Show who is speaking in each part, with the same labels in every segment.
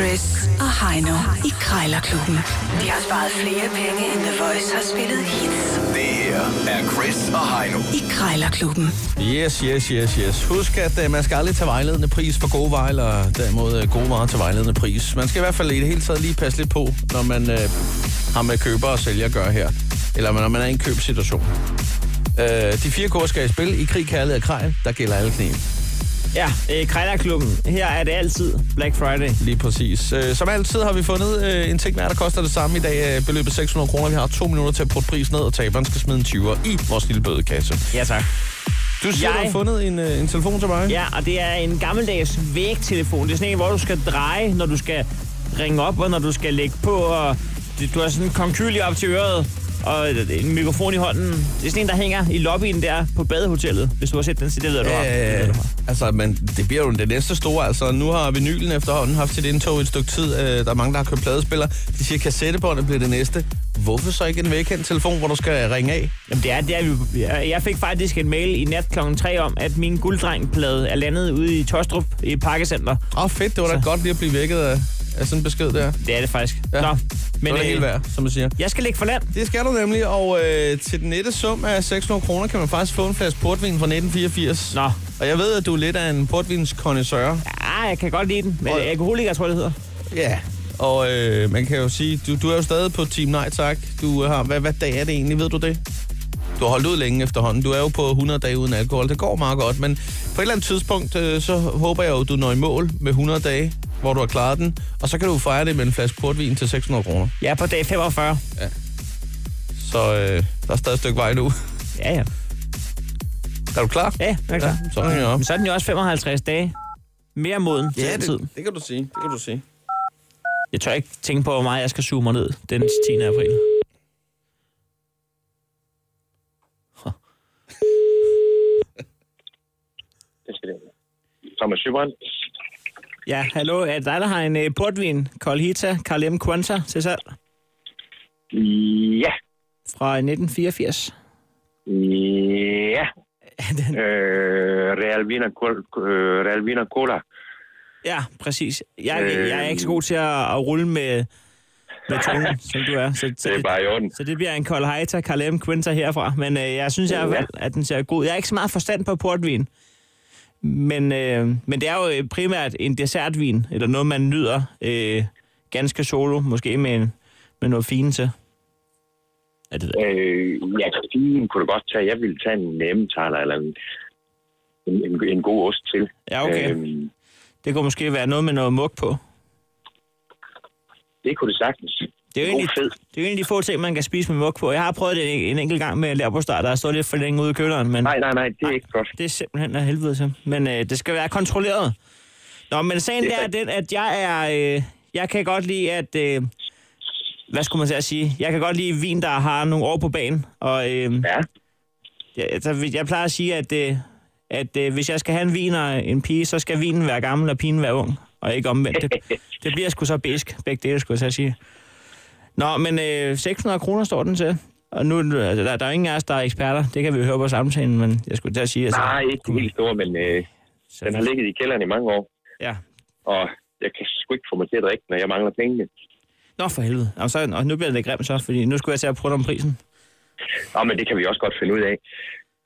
Speaker 1: Chris og Heino i Krejlerklubben. De har sparet flere penge, end The Voice har spillet hits
Speaker 2: Det her er Chris og Heino.
Speaker 1: i Krejlerklubben.
Speaker 3: Yes, yes, yes, yes. Husk, at øh, man skal aldrig tage vejledende pris for gode varer, eller derimod øh, gode varer til vejledende pris. Man skal i hvert fald i det hele taget lige passe lidt på, når man øh, har med køber og sælger at gøre her. Eller når man er i en købsituation. Øh, de fire kår skal i spil i krig, kærlighed og krejl. Der gælder alle knæ.
Speaker 4: Ja, øh, Krejlerklubben. Her er det altid Black Friday.
Speaker 3: Lige præcis. Øh, som altid har vi fundet øh, en ting med, der koster det samme i dag. Øh, beløbet 600 kroner. Vi har to minutter til at putte prisen ned, og taberen skal smide en 20'er i vores lille bødekasse.
Speaker 4: Ja, tak.
Speaker 3: Du siger,
Speaker 4: Jeg-
Speaker 3: du har fundet en, øh, en telefon til mig.
Speaker 4: Ja, og det er en gammeldags vægtelefon. Det er sådan en, hvor du skal dreje, når du skal ringe op, og når du skal lægge på, og det- du har sådan en konkylie op til øret, og en mikrofon i hånden. Det er sådan en, der hænger i lobbyen der på badehotellet, hvis du har set den. Så det ved jeg, du har. Det ved
Speaker 3: Øh,
Speaker 4: jeg, du har.
Speaker 3: altså, men det bliver jo det næste store. Altså, nu har vinylen efterhånden haft sit indtog i et stykke tid. Øh, der er mange, der har købt pladespillere. De siger, kassettebåndet bliver det næste. Hvorfor så ikke en velkendt telefon, hvor du skal ringe af?
Speaker 4: Jamen, det er, det er, vi- jeg- jeg fik faktisk en mail i nat kl. 3 om, at min gulddrengplade er landet ude i Tostrup i et pakkecenter.
Speaker 3: Åh, oh, fedt. Det var da
Speaker 4: Så.
Speaker 3: godt lige at blive vækket af, af sådan en besked der.
Speaker 4: Det er det faktisk.
Speaker 3: Ja.
Speaker 4: Nå,
Speaker 3: Men,
Speaker 4: men
Speaker 3: det var det helt
Speaker 4: øh,
Speaker 3: værd, som man siger.
Speaker 4: jeg skal lægge for land.
Speaker 3: Det skal du nemlig, og øh, til den nette sum af 600 kroner kan man faktisk få en flaske portvin fra 1984.
Speaker 4: Nå,
Speaker 3: Og jeg ved, at du er lidt af en portvinskondensør.
Speaker 4: Ah, jeg kan godt lide den. Men
Speaker 3: Og-
Speaker 4: alkoholiker, tror jeg, det hedder.
Speaker 3: Ja, og øh, man kan jo sige, du, du er jo stadig på Team Nej Tak. Du øh, har, hvad, hvad dag er det egentlig, ved du det? Du har holdt ud længe efterhånden. Du er jo på 100 dage uden alkohol. Det går meget godt, men på et eller andet tidspunkt, øh, så håber jeg jo, du når i mål med 100 dage, hvor du har klaret den. Og så kan du fejre det med en flaske portvin til 600 kroner.
Speaker 4: Jeg er på dag 45.
Speaker 3: Så øh, der er stadig et stykke vej nu.
Speaker 4: Ja, ja.
Speaker 3: Er du klar?
Speaker 4: Ja, jeg er klar.
Speaker 3: Ja, sådan er
Speaker 4: Men så er den jo også 55 dage. Mere moden til
Speaker 3: Ja,
Speaker 4: ja, tid.
Speaker 3: det, det kan du sige. Det kan du sige.
Speaker 4: Jeg tør ikke tænke på, hvor meget jeg skal suge mig ned den 10. april.
Speaker 5: Det skal det. Thomas Sjøbrand.
Speaker 4: Ja, hallo. Er det dig, der har en uh, portvin, Colhita Carlem Quanta til salg
Speaker 5: Ja.
Speaker 4: fra 1984?
Speaker 5: Ja.
Speaker 4: den,
Speaker 5: Øh, Real Vina, Col- øh, Real Vina Cola.
Speaker 4: ja, præcis. Jeg, jeg er ikke så
Speaker 5: Øh.
Speaker 4: god til at, at rulle med, med tungen, som du er. Så, så
Speaker 5: Det er bare i orden.
Speaker 4: Så det bliver en kold hejta, Carlem Quinta herfra. Men øh, jeg synes i hvert fald, at den ser god. Jeg er ikke så meget forstand på portvin. Men, øh, men det er jo øh, primært en dessertvin, eller noget, man nyder øh, ganske solo, måske med, en, med noget fint til. Er det det?
Speaker 5: Øh, ja, fin kunne du godt tage. Jeg ville tage en nemmetaler eller en, en, en, en god ost til.
Speaker 4: Ja, okay.
Speaker 5: Øh,
Speaker 4: Det kunne måske være noget med noget mug på.
Speaker 5: det kunne det sagtens.
Speaker 4: Det er, jo
Speaker 5: God
Speaker 4: egentlig,
Speaker 5: fed.
Speaker 4: det er jo en af de få ting, man kan spise med mug på. Jeg har prøvet det en, en enkelt gang med lærbosteg, der har stået lidt for længe ude i køleren, men
Speaker 5: Nej, nej, nej, det er ikke godt.
Speaker 4: det er simpelthen af helvede til. Men øh, det skal være kontrolleret. Nå, men sagen
Speaker 5: Det
Speaker 4: det
Speaker 5: er
Speaker 4: er den, at jeg er... Øh, jeg kan godt lide, at... Øh, hvad skulle man så sige? Jeg kan godt lide vin, der har nogle år på banen. Og øh,
Speaker 5: Ja,
Speaker 4: jeg, altså, jeg plejer at sige, at, øh, at øh, hvis jeg skal have en vin og en pige, så skal vinen være gammel og pigen være ung. Og ikke omvendt. Det, det bliver sgu så besk, begge dele, skulle jeg så sige. Nå, men øh, 600 kroner står den til. Og nu, altså, der, der er jo ingen af os, der er eksperter. Det kan vi jo høre på samtalen, men jeg skulle til at sige... Altså,
Speaker 5: nej, ikke den helt store, men øh, den har ligget i kælderen i mange år.
Speaker 4: Ja.
Speaker 5: Og jeg kan sgu ikke få mig til at drikke, når jeg mangler pengene.
Speaker 4: Nå for helvede. Og, så, og nu bliver det grimt så, fordi nu skulle jeg til at prøve om prisen.
Speaker 5: Nå, men det kan vi også godt finde ud af.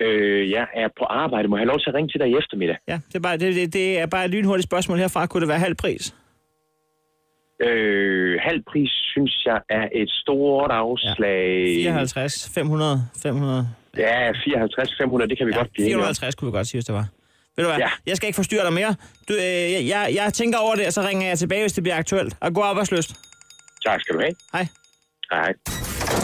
Speaker 5: Øh, jeg er på arbejde. Må jeg have lov til at ringe til dig i eftermiddag?
Speaker 4: Ja, det er bare, det, det, det er bare et lynhurtigt spørgsmål herfra. Kunne det være halv pris?
Speaker 5: Øh, halv pris, synes jeg, er et stort afslag.
Speaker 4: 54, 500, 500...
Speaker 5: Ja, 54-500, det kan vi
Speaker 4: Ja,
Speaker 5: godt blive enige om.
Speaker 4: 450 kunne vi godt sige, hvis det var. Ved du hvad?
Speaker 5: Ja.
Speaker 4: Ja. Jeg skal ikke forstyrre dig mere. Du, øh, jeg, jeg, jeg tænker over det, og så ringer jeg tilbage, hvis det bliver aktuelt. Og god arbejdsløst.
Speaker 5: Tak skal du have.
Speaker 4: Hej.
Speaker 5: Hej.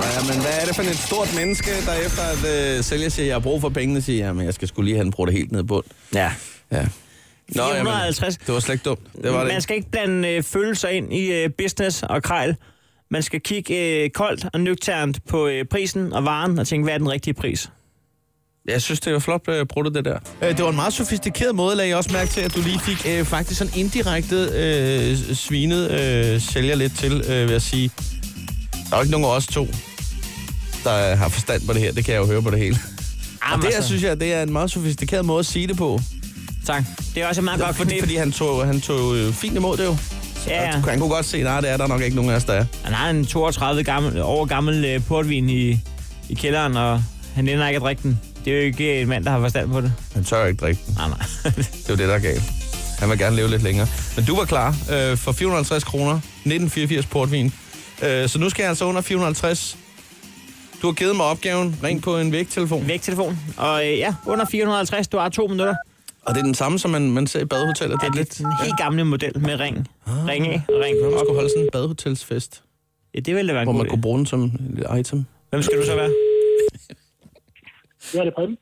Speaker 3: Ja, men hvad er det for et stort menneske, der efter at øh, sælger siger, jeg har brug for pengene, siger, jamen jeg skal skulle lige have den brugt det helt ned i bund.
Speaker 4: Ja.
Speaker 3: Ja. Nå,
Speaker 4: 450.
Speaker 3: Jamen, det var slet ikke dumt. Det var det.
Speaker 4: Man skal ikke blande øh, følelser ind i øh, business og krejl. Man skal kigge øh, koldt og nøgternt på øh, prisen og varen og tænke, hvad er den rigtige pris?
Speaker 3: Jeg synes, det var flot øh, bruttet, det der. Øh, det var en meget sofistikeret måde, lagde jeg også mærke til, at du lige fik øh, faktisk sådan indirekte øh, svinet øh, sælger lidt til, øh, ved at sige, der er jo ikke nogen af os to, der øh, har forstand på det her. Det kan jeg jo høre på det hele. Og
Speaker 4: Jamen,
Speaker 3: det, jeg
Speaker 4: altså.
Speaker 3: synes jeg, det er en meget sofistikeret måde at sige det på.
Speaker 4: Tak. Det er også et meget godt
Speaker 3: Fordi,
Speaker 4: knep.
Speaker 3: fordi han tog, han tog øh, fint imod det jo.
Speaker 4: Ja, ja.
Speaker 3: Ja. Han kunne godt se, nej, det er der nok ikke nogen af os, der er.
Speaker 4: Han har en 32 gammel, år gammel øh, portvin i, i kælderen, og han ender ikke at drikke den. Det er jo ikke en mand, der har forstand på det.
Speaker 3: Han tør ikke drikke.
Speaker 4: Nej, nej.
Speaker 3: Det er jo det, der er galt. Han vil gerne leve lidt længere. Men du var klar øh, for 450 kroner, 1984 portvin. Øh, så nu skal jeg altså under 450. Du har givet mig opgaven. Ring på en vægtelefon.
Speaker 4: Vægtelefon. Og øh, ja, under 450, du har to minutter.
Speaker 3: Og det er den samme, som man, man ser i badehoteller. Det er lidt... Ah.
Speaker 4: Den helt gamle model med ring. Ring af og ring
Speaker 3: Man
Speaker 4: op.
Speaker 3: skulle holde sådan en badehotelsfest,
Speaker 4: Ja, det ville da være en
Speaker 3: hvor
Speaker 4: god
Speaker 3: man kunne
Speaker 4: idé.
Speaker 3: bruge den som et lille item.
Speaker 4: Hvem skal du så være?
Speaker 6: Ja, det er Preben.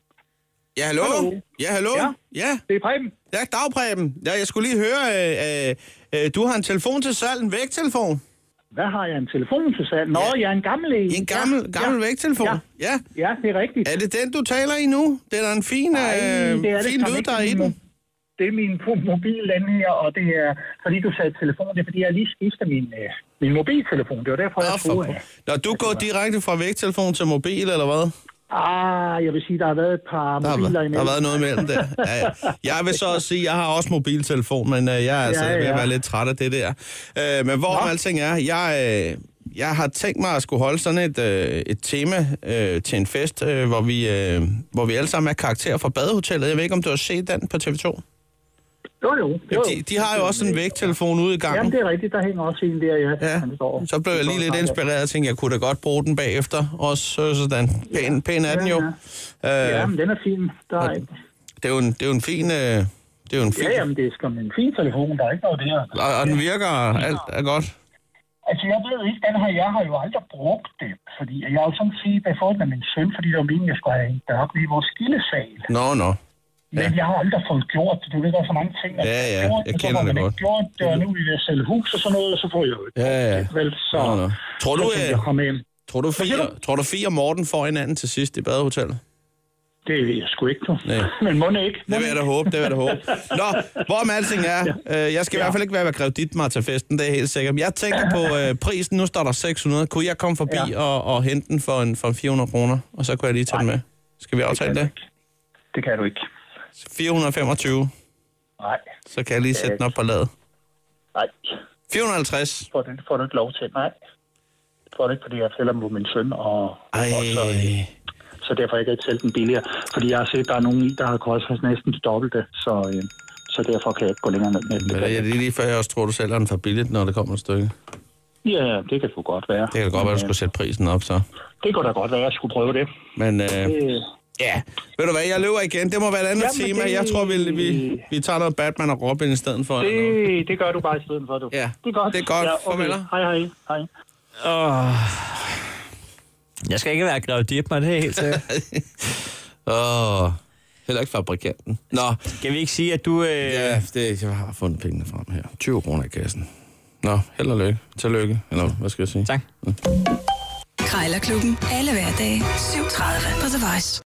Speaker 3: Ja, hallo?
Speaker 6: Hallo.
Speaker 3: Ja, hallo?
Speaker 6: Ja.
Speaker 3: Ja,
Speaker 6: Det er Preben.
Speaker 3: ja dagpræben. Ja, jeg skulle lige høre, øh, øh, øh, du har en telefon til salg, en vægtelefon.
Speaker 6: Hvad har jeg en telefon til salg? Nå, ja. jeg er en gammel en.
Speaker 3: En gammel,
Speaker 6: ja,
Speaker 3: gammel
Speaker 6: ja.
Speaker 3: vægtelefon.
Speaker 6: Ja.
Speaker 3: ja.
Speaker 6: Ja, det er rigtigt.
Speaker 3: Er det den, du taler i nu? Det er der en fin,
Speaker 6: Nej,
Speaker 3: øh,
Speaker 6: det er det
Speaker 3: fin
Speaker 6: skam
Speaker 3: lyd,
Speaker 6: ikke.
Speaker 3: der er i den.
Speaker 6: Det er min mo- mobil den her, og det er, fordi du sagde telefon, det er fordi, jeg lige skifter min, øh, min mobiltelefon. Det var derfor, jeg
Speaker 3: Nå, for...
Speaker 6: troede, at...
Speaker 3: Når du går direkte fra vægtelefon til mobil, eller hvad?
Speaker 6: Ah, jeg vil sige, der har været et par
Speaker 3: Der har,
Speaker 6: mobiler
Speaker 3: været- der har været
Speaker 6: imellem.
Speaker 3: noget imellem der. Ja, ja. Jeg vil så også sige, at jeg har også mobiltelefon, men øh, jeg er altså ja,
Speaker 6: Ja,
Speaker 3: ja. ved at
Speaker 6: ja.
Speaker 3: være lidt træt af det der. Øh, men hvor alting er, jeg, øh, jeg har tænkt mig at skulle holde sådan et, øh, et tema øh, til en fest, øh, hvor, vi, øh, hvor vi alle sammen er karakterer fra badehotellet. Jeg ved ikke, om du har set den på TV2?
Speaker 6: Jo, jo. jo.
Speaker 3: De, de har jo også sådan en vægtelefon ude i gangen.
Speaker 6: Jamen, det er rigtigt. Der hænger også en der, ja.
Speaker 3: Ja,
Speaker 6: Han står-
Speaker 3: så blev jeg lige lidt
Speaker 6: står-
Speaker 3: inspireret og tænkte, jeg kunne da godt bruge den bagefter. Også så sådan, pæn, pæn er den jo.
Speaker 6: Ja,
Speaker 3: Øh,
Speaker 6: men den er fin. Der er,
Speaker 3: det, er jo en, det er jo en fin... Øh, det er jo en fin
Speaker 6: ja, jamen, det er skam en fin telefon. Der er ikke noget der.
Speaker 3: og, og den virker, og alt er godt.
Speaker 6: Altså, jeg ved ikke, den her, jeg har jo aldrig brugt det, fordi jeg har jo sådan set, at jeg fået den af min søn, fordi det var meningen, jeg skulle have hængt det op i vores skillesal.
Speaker 3: Nå, nå.
Speaker 6: Men jeg har aldrig fået gjort det. Du ved, der er så mange ting, at
Speaker 3: Ja, ja,
Speaker 6: har gjort,
Speaker 3: jeg
Speaker 6: men så
Speaker 3: kender
Speaker 6: får
Speaker 3: det
Speaker 6: man
Speaker 3: godt.
Speaker 6: ikke gjort det, og nu vil jeg sælge hus og sådan noget, og så får jeg jo ikke.
Speaker 3: Ja, ja.
Speaker 6: Vel, så,
Speaker 3: Nå, nå. Tror du,
Speaker 6: så tænkte
Speaker 3: øh,
Speaker 6: jeg komme hjem.
Speaker 3: tror du, fire, tror du fire Morten får hinanden til sidst i badehotellet?
Speaker 6: Det ved jeg sgu ikke, du.
Speaker 3: Nej.
Speaker 6: Men må det ikke. Må
Speaker 3: Det vil jeg da håbe, det vil jeg da håbe. Nå, hvorom alting er, øh, jeg skal i hvert fald ikke være ved at kræve dit mig til festen, det er helt sikkert. Men jeg tænker på øh, prisen, nu står der 600. Kunne jeg komme forbi og, og hente den for en, for en 400 kroner, og så kunne jeg lige tage den med? Skal vi aftale det?
Speaker 6: Det kan du ikke.
Speaker 3: 425,
Speaker 6: Nej,
Speaker 3: så kan jeg lige sætte den op på ladet.
Speaker 6: nej.
Speaker 3: 450.
Speaker 6: Får det, får du ikke lov til. Nej. Det får du ikke, fordi jeg fælder dem på min søn, og,
Speaker 3: Ej,
Speaker 6: og så, så derfor jeg kan ikke sælge den billigere. Fordi jeg har set, der er nogen i, der har kostet næsten det dobbelte, så, øh, så derfor kan jeg ikke gå længere ned med den.
Speaker 3: men det er lige før jeg også tror, du sælger den for billigt, når det kommer et stykke.
Speaker 6: Ja, det kan sgu godt være. øh,
Speaker 3: Det kan da godt være, du skulle sætte prisen op, så.
Speaker 6: Det kunne da godt være, at jeg skulle prøve det.
Speaker 3: Men øh,
Speaker 6: Øh,
Speaker 3: ja, ved du hvad, jeg løber igen. Det må være et andet
Speaker 6: Jamen,
Speaker 3: tema.
Speaker 6: det-
Speaker 3: Jeg tror, vi, vi, vi tager noget Batman og Robin i stedet for. eller noget.
Speaker 6: Det, det gør du bare i stedet for, du.
Speaker 3: Ja,
Speaker 6: det er godt.
Speaker 3: det er godt.
Speaker 6: Ja,
Speaker 3: Farvel.
Speaker 6: Hej, hej, hej.
Speaker 4: Åh. Jeg skal ikke være Greve Dippmann, det er helt sikkert.
Speaker 3: Åh, oh, heller ikke fabrikanten. Nå,
Speaker 4: Kan vi ikke sige, at du... Øh, ja.
Speaker 3: ja, det, jeg har fundet pengene frem her. 20 kroner i kassen. Nå, held og lykke. Tillykke. Eller hvad skal jeg sige?
Speaker 4: Tak.
Speaker 1: Krejlerklubben. Alle hverdage. 7.30 på The Voice.